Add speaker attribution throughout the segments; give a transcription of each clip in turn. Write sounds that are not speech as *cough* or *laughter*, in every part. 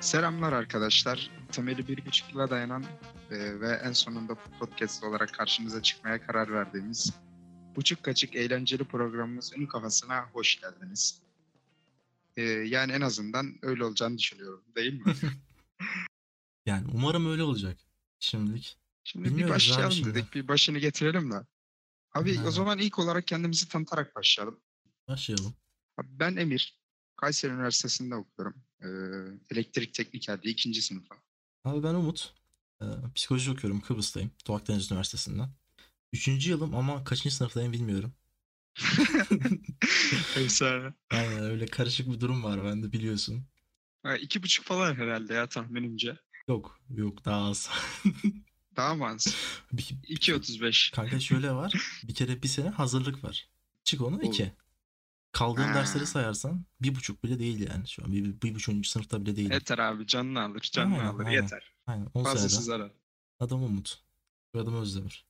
Speaker 1: Selamlar arkadaşlar. Temeli bir buçukla dayanan e, ve en sonunda podcast olarak karşınıza çıkmaya karar verdiğimiz buçuk kaçık eğlenceli programımız Ünlü Kafası'na hoş geldiniz. E, yani en azından öyle olacağını düşünüyorum değil
Speaker 2: *laughs*
Speaker 1: mi?
Speaker 2: Yani umarım öyle olacak şimdilik.
Speaker 1: Şimdi bir
Speaker 2: Bilmiyoruz abi
Speaker 1: başlayalım
Speaker 2: şimdi.
Speaker 1: dedik, bir başını getirelim de. Abi
Speaker 2: Aynen.
Speaker 1: o zaman ilk olarak kendimizi tanıtarak başlayalım.
Speaker 2: Başlayalım.
Speaker 1: Abi Ben Emir, Kayseri Üniversitesi'nde okuyorum. E, elektrik teknikerliği ikinci
Speaker 2: *laughs*
Speaker 1: sınıfa.
Speaker 2: Abi ben Umut. Ee, psikoloji okuyorum. Kıbrıs'tayım. Doğu Akdeniz Üniversitesi'nden. Üçüncü yılım ama kaçıncı sınıftayım bilmiyorum.
Speaker 1: Efsane.
Speaker 2: Aynen öyle karışık bir durum var bende biliyorsun.
Speaker 3: Ha, iki buçuk falan herhalde ya tahminimce.
Speaker 2: Yok yok daha az. *laughs*
Speaker 1: Daha mı az?
Speaker 2: Bir-
Speaker 3: 2.35.
Speaker 2: Kanka şöyle var. Bir kere bir sene hazırlık var. Çık onu iki. Kaldığın
Speaker 1: Ha.
Speaker 2: dersleri sayarsan bir buçuk bile değil yani şu an. Bir, bir, bir buçuğuncu sınıfta bile değil.
Speaker 3: Yeter abi canını alır canını
Speaker 2: Aynen,
Speaker 3: alır
Speaker 2: aynen.
Speaker 3: yeter.
Speaker 2: Aynen. On
Speaker 3: Fazlası
Speaker 2: seneden.
Speaker 3: zarar.
Speaker 2: Adım Umut. Adım Özdemir.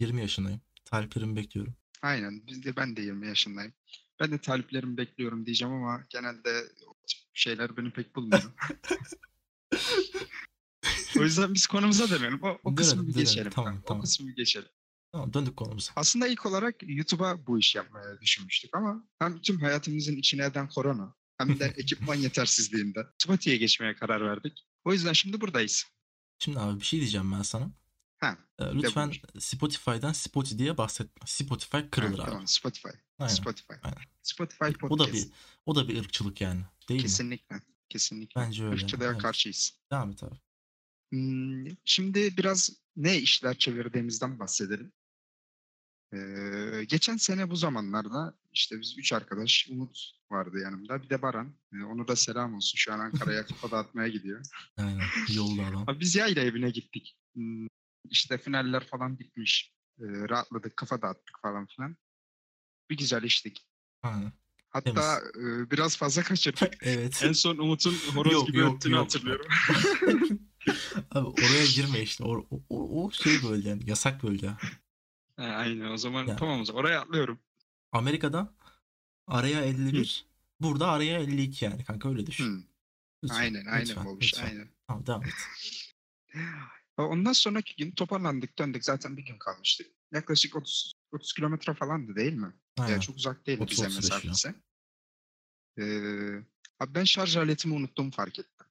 Speaker 2: 20 yaşındayım. Taliplerimi bekliyorum.
Speaker 1: Aynen. Biz de ben de 20 yaşındayım. Ben de taliplerimi bekliyorum diyeceğim ama genelde o tip şeyler beni pek
Speaker 2: *laughs*
Speaker 1: bulmuyor. o yüzden biz konumuza dönelim. O, o
Speaker 2: Dönelim,
Speaker 1: kısmı bir
Speaker 2: dönelim.
Speaker 1: geçelim.
Speaker 2: Tamam,
Speaker 1: kanka,
Speaker 2: tamam.
Speaker 1: O kısmı bir geçelim.
Speaker 2: Tamam döndük konumuza.
Speaker 1: Aslında ilk olarak YouTube'a bu iş yapmaya düşünmüştük ama hem tüm hayatımızın içine eden korona hem de
Speaker 2: *laughs*
Speaker 1: ekipman yetersizliğinde Spotify'a geçmeye karar verdik. O yüzden şimdi buradayız.
Speaker 2: Şimdi abi bir şey diyeceğim ben sana.
Speaker 1: Ha,
Speaker 2: Ee, Lütfen
Speaker 1: buyur.
Speaker 2: Spotify'dan Spoti diye bahsetme. Spotify
Speaker 1: ha,
Speaker 2: kırılır abi.
Speaker 1: tamam, Spotify.
Speaker 2: Aynen.
Speaker 1: Spotify.
Speaker 2: aynen.
Speaker 1: Spotify podcast.
Speaker 2: O da bir o da bir ırkçılık yani. Değil mi?
Speaker 1: Kesinlikle. Kesinlikle.
Speaker 2: Bence öyle.
Speaker 1: Irkçılığa
Speaker 2: Evet.
Speaker 1: karşıyız.
Speaker 2: Devam et abi.
Speaker 1: Hmm, Şimdi biraz ne işler çevirdiğimizden bahsedelim. Ee, geçen sene bu zamanlarda işte biz üç arkadaş Umut vardı yanımda. Bir de Baran. Ee, onu da selam olsun. Şu an Ankara'ya
Speaker 2: *laughs*
Speaker 1: kafa dağıtmaya gidiyor.
Speaker 2: Aynen. Yolda adam.
Speaker 1: Abi biz yayla evine gittik. Hmm, İşte finaller falan bitmiş. Ee, rahatladık, kafa dağıttık falan filan. Bir güzel içtik.
Speaker 2: Aynen.
Speaker 1: Hatta e, biraz fazla
Speaker 2: *laughs*
Speaker 1: kaçırdık.
Speaker 2: Evet.
Speaker 3: En son Umut'un horoz
Speaker 2: Yok,
Speaker 3: gibi
Speaker 2: yok,
Speaker 3: öttüğünü
Speaker 1: *laughs*
Speaker 2: yok.
Speaker 3: hatırlıyorum.
Speaker 2: abi oraya girme işte. O, o, o şey bölge yani yasak bölge.
Speaker 3: Ha, aynen o zaman
Speaker 2: Ya.
Speaker 3: tamam o zaman oraya atlıyorum.
Speaker 2: Amerika'da araya 51, burada araya 52 yani kanka öyle düşün.
Speaker 1: Hmm,
Speaker 2: Lütfen,
Speaker 1: aynen, aynen
Speaker 2: lütfen,
Speaker 1: olmuş.
Speaker 2: lütfen.
Speaker 1: Aynen.
Speaker 2: Tamam devam et.
Speaker 1: Ve Ondan sonraki gün toparlandık döndük zaten bir gün kalmıştık. Yaklaşık 30 30 kilometre falandı değil mi? Ya
Speaker 2: Aynen.
Speaker 1: çok uzak değil
Speaker 2: 30,
Speaker 1: bize
Speaker 2: 35 ya.
Speaker 1: mesafesi. Ee, abi ben şarj aletimi unuttuğumu fark ettim.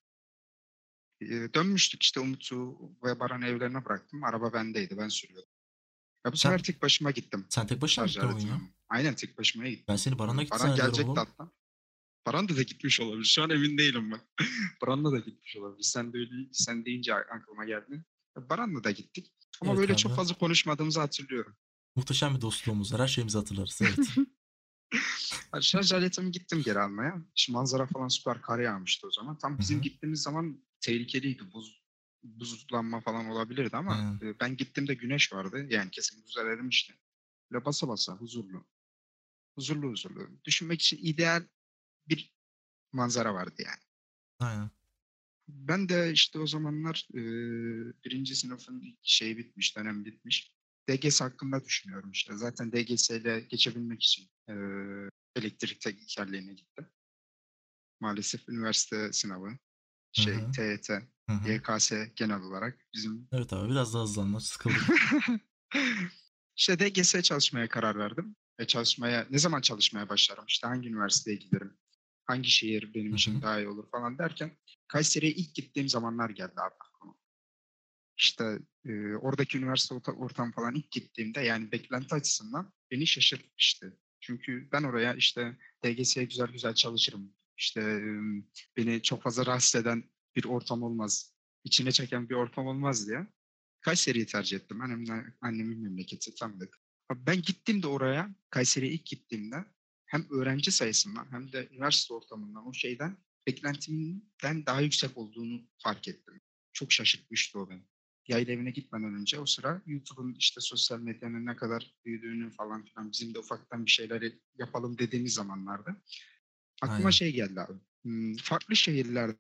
Speaker 1: Ee, dönmüştük işte Umut'u ve Baran'ı evlerine bıraktım. Araba bendeydi ben sürüyordum. Ya bu
Speaker 2: Sen-
Speaker 1: sefer tek başıma gittim.
Speaker 2: Sen tek başına
Speaker 1: Şarj
Speaker 2: gittin oyun ya.
Speaker 1: aletimi. Aynen tek başıma gittim.
Speaker 2: Ben seni barana
Speaker 1: Baran
Speaker 2: gittin zannediyorum
Speaker 1: gelecekti
Speaker 2: oğlum.
Speaker 1: hatta. Baran da da gitmiş olabilir. Şu an emin değilim ben. *laughs* Baran'la da gitmiş olabilir. Sen de öyle, sen deyince aklıma geldi. Baran'la da gittik. Ama
Speaker 2: Evet
Speaker 1: böyle
Speaker 2: abi.
Speaker 1: çok fazla konuşmadığımızı hatırlıyorum.
Speaker 2: Muhteşem bir dostluğumuz var. Her şeyimizi hatırlarız.
Speaker 1: *laughs*
Speaker 2: Evet.
Speaker 1: Yani Şarj aletimi gittim geri almaya. Şimdi manzara falan süper kar yağmıştı o zaman. Tam bizim
Speaker 2: hı.
Speaker 1: gittiğimiz zaman tehlikeliydi. Buz buzlanma falan olabilirdi ama
Speaker 2: Hı.
Speaker 1: e, ben gittiğimde güneş vardı. Yani kesin buz erimişti. Böyle basa basa huzurlu. Huzurlu huzurlu. Düşünmek için ideal bir manzara vardı yani.
Speaker 2: Aynen.
Speaker 1: Ben de işte o zamanlar eee, birinci sınıfın ilk şey bitmiş, dönem bitmiş. DGS hakkında düşünüyorum işte. Zaten DGS ile geçebilmek için eee, elektrik teknikerliğine gittim. Maalesef üniversite sınavı, şey
Speaker 2: hı.
Speaker 1: TYT,
Speaker 2: Hı hı.
Speaker 1: YKS genel olarak bizim.
Speaker 2: Evet abi biraz daha
Speaker 1: *laughs*
Speaker 2: hızlanma sıkıldım.
Speaker 1: işte DGS çalışmaya karar verdim. Ve çalışmaya, ne zaman çalışmaya başlarım? İşte hangi üniversiteye giderim? Hangi şehir benim
Speaker 2: Hı
Speaker 1: için
Speaker 2: hı.
Speaker 1: daha iyi olur falan derken Kayseri'ye ilk gittiğim zamanlar geldi abi aklıma. İşte e, oradaki üniversite orta- ortam falan ilk gittiğimde yani beklenti açısından beni şaşırtmıştı. Çünkü ben oraya işte DGS'ye güzel güzel çalışırım. İşte e, beni çok fazla rahatsız eden bir ortam olmaz. içine çeken bir ortam olmaz diye. Kayseri'yi tercih ettim. Annemle, annemin memleketi tam da. Abi Ben gittiğimde oraya, Kayseri'ye ilk gittiğimde hem öğrenci sayısından hem de üniversite ortamından o şeyden beklentimden daha yüksek olduğunu fark ettim. Çok şaşırtmıştı o beni. Yayla evine gitmeden önce o sıra YouTube'un işte sosyal medyanın ne kadar büyüdüğünü falan filan bizim de ufaktan bir şeyler yapalım dediğimiz zamanlarda aklıma
Speaker 2: Aynen.
Speaker 1: şey geldi abi. Hmm, Farklı şehirlerde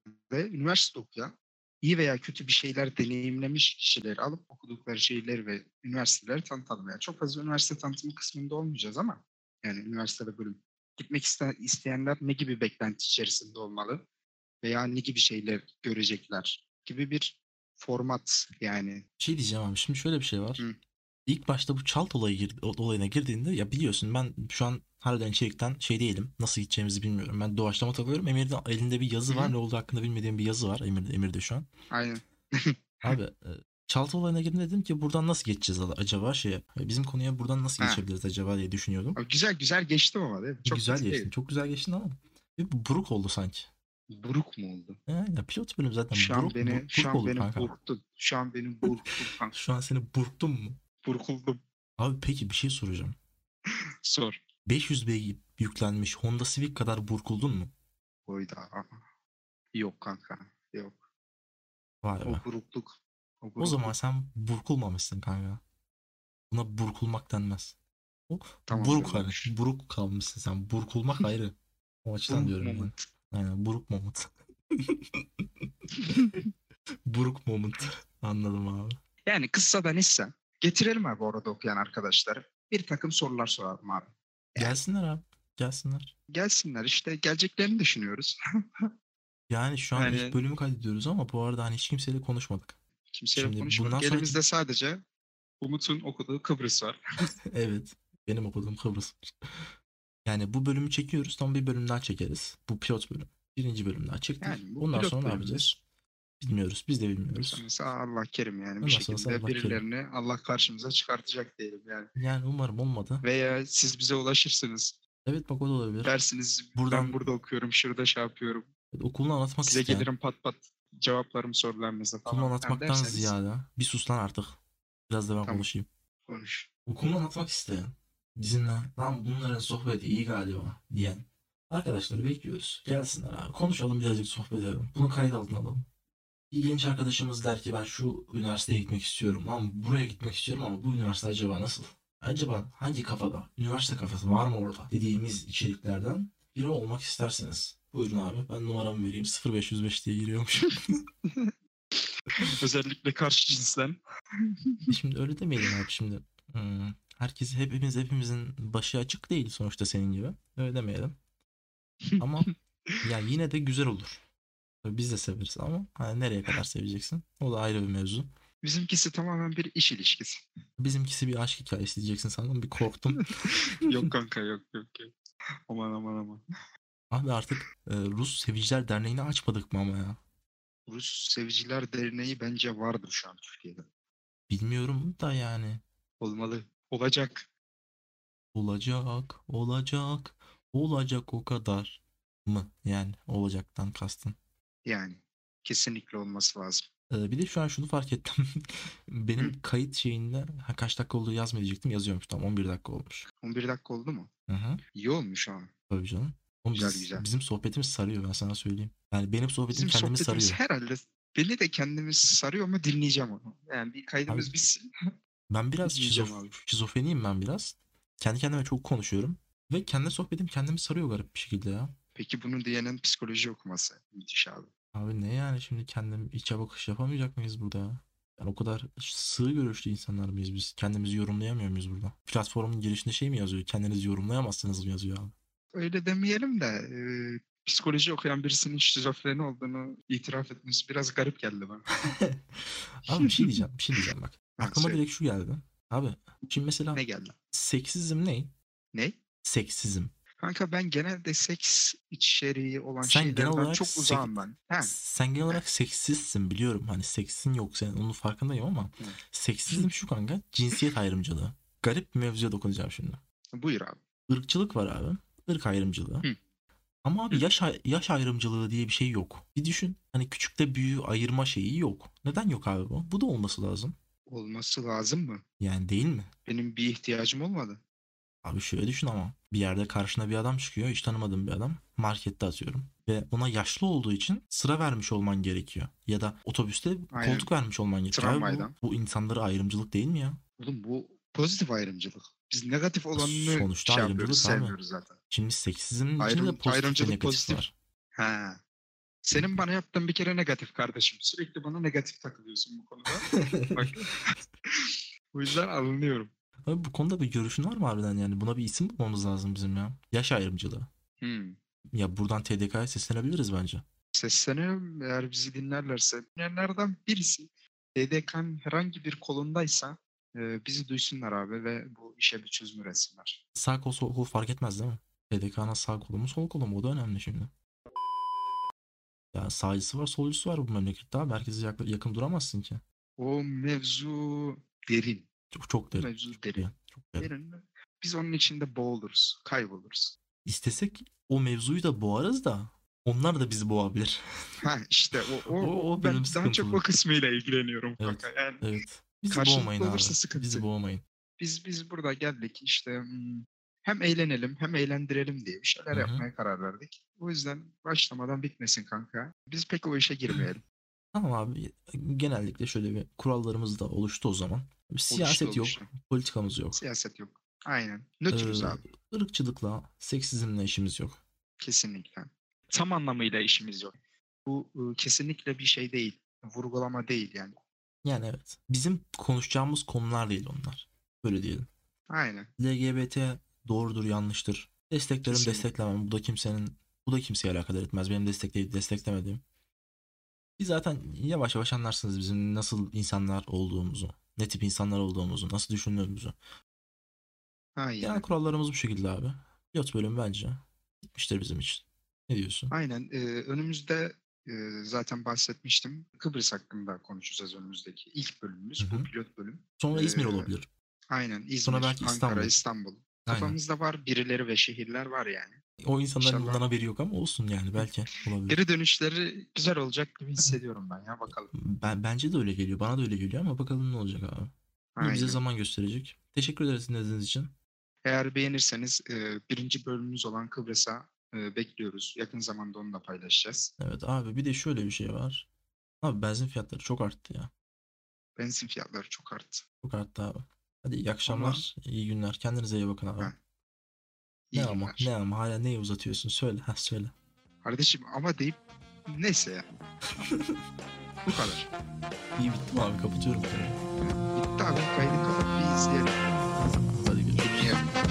Speaker 1: üniversite okuyan iyi veya kötü bir şeyler deneyimlemiş kişileri alıp okudukları şehirleri ve üniversiteleri tanıtalım. Yani çok fazla üniversite tanıtımı kısmında olmayacağız ama yani üniversitede bölüm gitmek iste- isteyenler ne gibi beklenti içerisinde olmalı? veya ne gibi şeyler görecekler gibi bir format yani.
Speaker 2: şey diyeceğim abi şimdi şöyle bir şey var.
Speaker 1: Hı.
Speaker 2: İlk başta bu çalt olayı gir- olayına girdiğinde ya biliyorsun ben şu an harbiden içerikten şey değilim. Nasıl gideceğimizi bilmiyorum. Ben doğaçlama takılıyorum. Emir'de elinde bir yazı
Speaker 1: Hı.
Speaker 2: var. Ne olduğu hakkında bilmediğim bir yazı var Emir'de, Emir'de şu an.
Speaker 1: Aynen.
Speaker 2: Abi e, çalt olayına girdiğimde dedim ki buradan nasıl geçeceğiz ala- acaba şeye. e, Bizim konuya buradan nasıl
Speaker 1: Ha.
Speaker 2: geçebiliriz acaba diye düşünüyordum. E,
Speaker 1: Abi güzel güzel geçtim ama değil mi? Çok
Speaker 2: güzel
Speaker 1: kötü
Speaker 2: geçtin.
Speaker 1: değil.
Speaker 2: Çok güzel geçtin ama. Bir buruk oldu sanki.
Speaker 1: Buruk mu oldu?
Speaker 2: E, aynen, pilot bölüm zaten
Speaker 1: şu an
Speaker 2: buruk,
Speaker 1: beni
Speaker 2: buruk,
Speaker 1: şu an
Speaker 2: buruk oldu
Speaker 1: beni
Speaker 2: kanka.
Speaker 1: burktun. Şu an beni burktun kanka.
Speaker 2: Şu an seni burktum mu?
Speaker 3: Burkuldum.
Speaker 2: Abi peki bir şey soracağım.
Speaker 3: Sor.
Speaker 2: 500 beygir yüklenmiş Honda Civic kadar burkuldun mu?
Speaker 1: Koyda. Yok kanka. Yok.
Speaker 2: Vay be.
Speaker 1: O burukluk.
Speaker 2: O
Speaker 1: burukluk.
Speaker 2: zaman sen burkulmamışsın kanka. Buna burkulmak denmez. O
Speaker 1: Tamam,
Speaker 2: buruk hani.
Speaker 1: yanlış.
Speaker 2: Buruk kalmışsın sen.
Speaker 1: *laughs*
Speaker 2: Burkulmak ayrı. O açıdan
Speaker 1: Buruk
Speaker 2: diyorum yani.
Speaker 1: moment.
Speaker 2: Aynen
Speaker 1: *laughs*
Speaker 2: buruk moment. buruk moment. Anladım abi.
Speaker 1: Yani kıssadan hissen getirelim abi orada okuyan arkadaşları. Bir takım sorular soralım abi.
Speaker 2: Gelsinler abi. Gelsinler.
Speaker 1: Gelsinler işte geleceklerini düşünüyoruz.
Speaker 2: Yani şu an
Speaker 3: Yani-
Speaker 2: ilk bölümü kaydediyoruz ama bu arada hani hiç kimseyle konuşmadık.
Speaker 1: Kimseyle
Speaker 2: Şimdi bundan
Speaker 1: konuşmadık.
Speaker 2: sonraki-
Speaker 1: Elimizde sadece
Speaker 3: Umut'un okuduğu Kıbrıs var.
Speaker 2: Evet. Benim okuduğum Kıbrıs. Yani bu bölümü çekiyoruz. Tam bir bölüm daha çekeriz. Bu pilot bölüm. Birinci bölüm daha çektik.
Speaker 1: Yani bu
Speaker 2: Ondan
Speaker 1: pilot
Speaker 2: sonra ne
Speaker 1: bölümümüz.
Speaker 2: yapacağız? Bilmiyoruz. Biz de bilmiyoruz.
Speaker 1: Mesela Allah kerim yani
Speaker 2: Ondan
Speaker 1: bir
Speaker 2: sonrası
Speaker 1: şekilde
Speaker 2: Allah kerim.
Speaker 1: birilerini Allah karşımıza çıkartacak diyelim yani.
Speaker 2: Yani umarım olmadı.
Speaker 1: Veya siz bize ulaşırsınız.
Speaker 2: Evet bak o da olabilir.
Speaker 1: Dersiniz
Speaker 2: Buradan-
Speaker 1: ben burada okuyorum, şurada şey yapıyorum.
Speaker 2: Okulunu anlatmak
Speaker 1: Size
Speaker 2: isteyen,
Speaker 1: gelirim pat pat cevaplarım sorularınıza falan.
Speaker 2: okulunu
Speaker 1: filan
Speaker 2: anlatmaktan
Speaker 1: derseniz
Speaker 2: ziyade bir sus lan artık. Biraz da ben
Speaker 1: Tamam.
Speaker 2: konuşayım.
Speaker 1: Konuş.
Speaker 2: Okulunu anlatmak isteyen, bizimle lan bunların sohbeti iyi galiba diyen arkadaşları bekliyoruz. Gelsinler abi. Konuşalım birazcık sohbet edelim. Bunu kayıt altına alalım. Bir genç arkadaşımız der ki ben şu üniversiteye gitmek istiyorum. Lan buraya gitmek istiyorum ama bu üniversite acaba nasıl? Acaba hangi kafada? Üniversite kafası var mı orada? Dediğimiz içeriklerden biri olmak isterseniz. Buyurun abi ben numaramı vereyim. 0505 diye giriyormuşum.
Speaker 3: Özellikle karşı cinsten.
Speaker 2: Şimdi öyle demeyelim abi şimdi. Hmm, herkes hepimiz hepimizin başı açık değil sonuçta senin gibi. Öyle demeyelim. Ama ya yine de güzel olur. Tabii Biz de severiz ama hani nereye kadar seveceksin? O da ayrı bir mevzu.
Speaker 1: Bizimkisi tamamen bir iş
Speaker 2: *laughs*
Speaker 1: ilişkisi.
Speaker 2: Bizimkisi bir aşk hikayesi diyeceksin sandım. Bir korktum.
Speaker 3: Yok kanka yok yok yok. Aman aman aman.
Speaker 2: Abi artık e, Rus Seviciler Derneği'ni açmadık mı ama ya?
Speaker 1: Rus Seviciler Derneği bence vardır şu an Türkiye'de.
Speaker 2: Bilmiyorum da yani.
Speaker 1: Olmalı. Olacak.
Speaker 2: Olacak, olacak, olacak o kadar mı? Yani olacaktan kastın.
Speaker 1: Yani kesinlikle olması lazım.
Speaker 2: Ee, Bir de şu an şunu fark ettim. *laughs* Benim kayıt şeyinde ha, kaç dakika olduğu yazmıyor diyecektim. Yazıyormuş tamam 11 dakika olmuş.
Speaker 1: 11 dakika oldu mu?
Speaker 2: Hı hı.
Speaker 1: İyi olmuş ama.
Speaker 2: Tabii canım. Oğlum
Speaker 1: Güzel,
Speaker 2: biz-
Speaker 1: güzel.
Speaker 2: Bizim sohbetimiz sarıyor ben sana söyleyeyim. Yani benim sohbetim
Speaker 1: Bizim
Speaker 2: kendimi
Speaker 1: sohbetimiz
Speaker 2: sarıyor.
Speaker 1: herhalde beni de kendimiz sarıyor ama dinleyeceğim onu. Yani bir kaydımız
Speaker 2: Abi-
Speaker 1: biz
Speaker 2: Ben biraz
Speaker 1: Dinleyeceğim
Speaker 2: şizof-
Speaker 1: abi.
Speaker 2: şizofreniyim ben biraz. Kendi kendime çok konuşuyorum. Ve kendi sohbetim kendimi sarıyor garip bir şekilde ya.
Speaker 1: Peki bunu diyenin psikoloji okuması. Müthiş abi.
Speaker 2: Abi ne yani şimdi kendim içe bakış yapamayacak mıyız burada ya? Yani o kadar sığ görüşlü insanlar mıyız biz? Kendimizi yorumlayamıyor muyuz burada? Platformun girişinde şey mi yazıyor? Kendinizi yorumlayamazsınız mı yazıyor abi?
Speaker 1: Öyle demeyelim de e, psikoloji okuyan birisinin şizofreni olduğunu itiraf etmesi biraz garip geldi bana.
Speaker 2: Abi bir şey diyeceğim, bir şey diyeceğim bak.
Speaker 1: Ha,
Speaker 2: Aklıma
Speaker 1: söyle.
Speaker 2: direkt şu geldi. Abi şimdi mesela
Speaker 1: Ne geldi?
Speaker 2: seksizm ne?
Speaker 1: Ne?
Speaker 2: Seksizm.
Speaker 1: Kanka ben genelde seks içeriği olan
Speaker 2: Sen genel
Speaker 1: şeylerden
Speaker 2: olarak
Speaker 1: çok
Speaker 2: sek-
Speaker 1: uzağım ben. He,
Speaker 2: Sen genel olarak seksizsin biliyorum. Hani seksin yok senin onun farkındayım ama
Speaker 1: Evet.
Speaker 2: seksizm şu kanka cinsiyet ayrımcılığı. Garip bir mevzuya dokunacağım şimdi.
Speaker 1: buyur abi.
Speaker 2: Irkçılık var abi. Irk ayrımcılığı.
Speaker 1: Hı.
Speaker 2: Ama abi
Speaker 1: Hı.
Speaker 2: yaş, ay- yaş ayrımcılığı diye bir şey yok. Bir düşün. Hani küçükte büyüğü ayırma şeyi yok. Neden yok abi bu? Bu da olması lazım.
Speaker 1: Olması lazım mı?
Speaker 2: Yani değil mi?
Speaker 1: Benim bir ihtiyacım olmadı.
Speaker 2: Abi şöyle düşün ama bir yerde karşına bir adam çıkıyor hiç tanımadığın bir adam markette atıyorum ve ona yaşlı olduğu için sıra vermiş olman gerekiyor ya da otobüste
Speaker 1: Aynen.
Speaker 2: koltuk vermiş olman gerekiyor. Abi bu-
Speaker 1: Tramvaydan.
Speaker 2: bu, insanlara ayrımcılık değil mi ya?
Speaker 1: Oğlum bu pozitif ayrımcılık. Biz negatif olanını
Speaker 2: Sonuçta
Speaker 1: şey
Speaker 2: ayrımcılık
Speaker 1: yapıyoruz,
Speaker 2: abi.
Speaker 1: sevmiyoruz zaten.
Speaker 2: Şimdi seksizmin içinde de
Speaker 1: Ayrım-
Speaker 2: pozitif ve
Speaker 1: ayrımcılık
Speaker 2: negatif
Speaker 1: pozitif. *laughs*
Speaker 2: var.
Speaker 1: He. Senin bana yaptığın bir kere negatif kardeşim. Sürekli bana negatif takılıyorsun bu konuda. *laughs* Bak. o yüzden alınıyorum.
Speaker 2: Abi bu konuda bir görüşün var mı harbiden yani buna bir isim bulmamız lazım bizim ya. Yaş ayrımcılığı.
Speaker 1: Hmm.
Speaker 2: Ya buradan TDK'ya seslenebiliriz bence.
Speaker 1: sesleniyorum. Eğer bizi dinlerlerse, dinleyenlerden birisi DDK'nın herhangi bir kolundaysa e, bizi duysunlar abi ve bu işe bir çözüm üretsinler.
Speaker 2: Sağ kol sol kol fark etmez değil mi? PDK'nın sağ kolu mu sol kolu mu o da önemli şimdi. Ya sağcısı var solcusu var bu memlekette abi. Herkese yakın, yakın duramazsın ki.
Speaker 1: O mevzu derin.
Speaker 2: Çok, çok derin.
Speaker 1: Mevzu derin.
Speaker 2: Yani Çok derin.
Speaker 1: derin. Biz onun içinde boğuluruz, kayboluruz.
Speaker 2: İstesek o mevzuyu da boğarız da onlar da bizi boğabilir. *laughs*
Speaker 1: Ha işte o, o,
Speaker 2: O-
Speaker 1: ben
Speaker 2: o
Speaker 1: daha
Speaker 2: benim
Speaker 1: çok
Speaker 2: sıkıntılı.
Speaker 1: o kısmıyla ilgileniyorum
Speaker 2: Evet.
Speaker 1: kanka. Yani
Speaker 2: evet. Bizi
Speaker 1: Karşılıklı
Speaker 2: boğmayın abi.
Speaker 1: olursa sıkıntı.
Speaker 2: Bizi boğmayın.
Speaker 1: biz biz burada geldik işte hmm, hem eğlenelim hem eğlendirelim diye bir şeyler
Speaker 2: Hı hı.
Speaker 1: yapmaya karar verdik. O yüzden başlamadan bitmesin kanka. Biz pek o işe girmeyelim.
Speaker 2: Tamam abi genellikle şöyle bir kurallarımız da oluştu o zaman. Bir siyaset
Speaker 1: Oluştu,
Speaker 2: yok,
Speaker 1: oluştu.
Speaker 2: politikamız yok.
Speaker 1: Siyaset yok. Aynen. Nötrüz
Speaker 2: Ee,
Speaker 1: abi.
Speaker 2: Irkçılıkla, seksizmle işimiz yok.
Speaker 1: Kesinlikle. Tam anlamıyla işimiz yok. Bu e, kesinlikle bir şey değil. Vurgulama değil yani.
Speaker 2: Yani evet. Bizim konuşacağımız konular değil onlar. Böyle diyelim.
Speaker 1: Aynen.
Speaker 2: LGBT doğrudur, yanlıştır. Desteklerim,
Speaker 1: Kesinlikle.
Speaker 2: desteklemem. Bu da kimsenin bu da kimseye alakadar etmez. Benim destekleyip desteklemediğim. Biz zaten yavaş yavaş anlarsınız bizim nasıl insanlar olduğumuzu, ne tip insanlar olduğumuzu, nasıl düşündüğümüzü.
Speaker 1: Aynen.
Speaker 2: Genel kurallarımız bu şekilde abi. Pilot bölüm bence gitmiştir bizim için. Ne diyorsun?
Speaker 1: Aynen. e, önümüzde e, zaten bahsetmiştim. Kıbrıs hakkında konuşacağız önümüzdeki ilk bölümümüz.
Speaker 2: Hı hı.
Speaker 1: Bu pilot bölüm.
Speaker 2: Sonra İzmir
Speaker 1: Ee,
Speaker 2: olabilir.
Speaker 1: Aynen İzmir,
Speaker 2: belki
Speaker 1: Ankara,
Speaker 2: İstanbul.
Speaker 1: İstanbul.
Speaker 2: Aynen.
Speaker 1: Kafamızda var birileri ve şehirler var yani.
Speaker 2: O insanların
Speaker 1: inşallah.
Speaker 2: bundan haberi yok ama olsun yani belki olabilir.
Speaker 1: Geri dönüşleri güzel olacak gibi hissediyorum ben ya bakalım.
Speaker 2: Ben, bence de öyle geliyor. Bana da öyle geliyor ama bakalım ne olacak abi. Bunu bize
Speaker 1: Aynen.
Speaker 2: zaman gösterecek. Teşekkür ederiz dinlediğiniz için.
Speaker 1: Eğer beğenirseniz e, birinci bölümümüz olan Kıbrıs'a e, bekliyoruz. Yakın zamanda onu da paylaşacağız.
Speaker 2: Evet abi bir de şöyle bir şey var. Abi benzin fiyatları çok arttı ya.
Speaker 1: Benzin fiyatları çok arttı.
Speaker 2: Çok arttı abi. Hadi iyi akşamlar, iyi günler. Kendinize iyi bakın abi.
Speaker 1: Ha, İyi
Speaker 2: Ne ama,
Speaker 1: günler.
Speaker 2: ne ama hala neyi uzatıyorsun? Söyle, ha söyle.
Speaker 1: Kardeşim ama deyip neyse
Speaker 2: *laughs*
Speaker 1: ya. Bu kadar.
Speaker 2: İyi bitti mi abi? Kapatıyorum. konuyu.
Speaker 1: tá, Bitti abi kaydı kapat bir izleyelim.
Speaker 2: Hadi görüşürüz.
Speaker 1: Dinleyelim.